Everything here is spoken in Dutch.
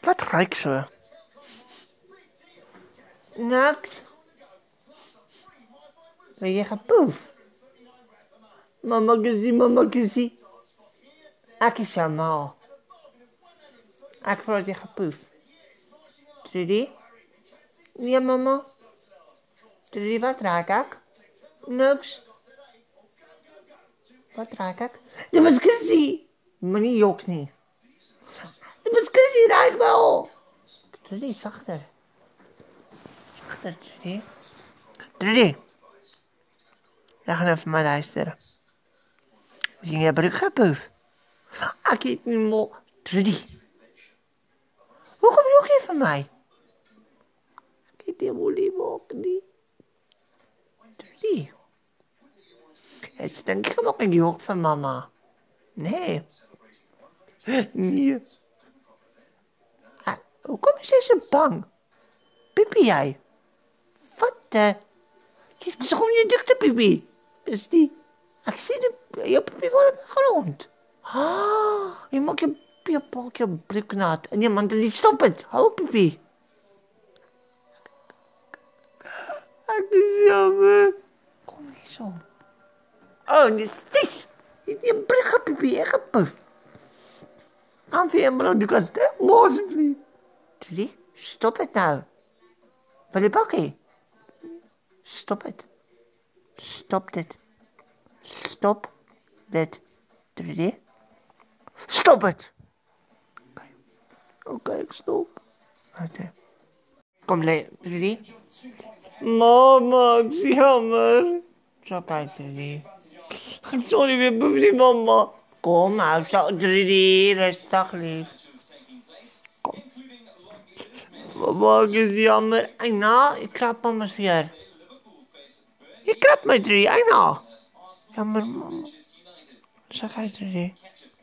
Wat ruikt ze? Naakt. Ben je gepoef? Mama gezien, mama gezien. Ik is allemaal. Ik word je gepoef. Trudy? Ja, mama. Trudy, wat raak ik? Niks. Wat raak ik? De buskussie! Maar niet jok niet. De buskussie raakt wel! Trudy, zachter. Zachter, Trudy. Trudy! Jij gaat even maar luisteren. Misschien heb ik gepoef. Ik eet niet mol. Trudy. Hoe kom je ook hier van mij? Ik eet die molie ook niet. Trudy. Het stinkt gewoon in die hoek van mama. Nee. Nee. Ah, hoe kom je zo bang? Pipi jij? Wat de? Je is misschien je dikte pipi. Is die? Ik zie de, je pipi gewoon op de grond. Ah, je maakt je, je, pak je blik nat. En die man die stopt het. Hou pipi. Ik is jammer. Kom hier zo. Oh, dit is vies. Je hebt je brug gepipi en gepoef. Aan voor je brood, ik was het mooi niet. Trudy, stop het nou. Wil je bakkie? Stop het. Stop dit. Stop dit. Trudy. Stop het. Oké, ik stop. Oké. Kom, Le- Trudy. Mama, ik zie jammer. Zo, kijk, Trudy. Sorry, weer boven mama. Kom nou, zo, Trudy, rustig, lief. Kom. Mama, ik is jammer. Eina, ik krap mama zeer. Je krapt mij, Trudy, Eina. Jammer, mama. Zo, kijk, Trudy.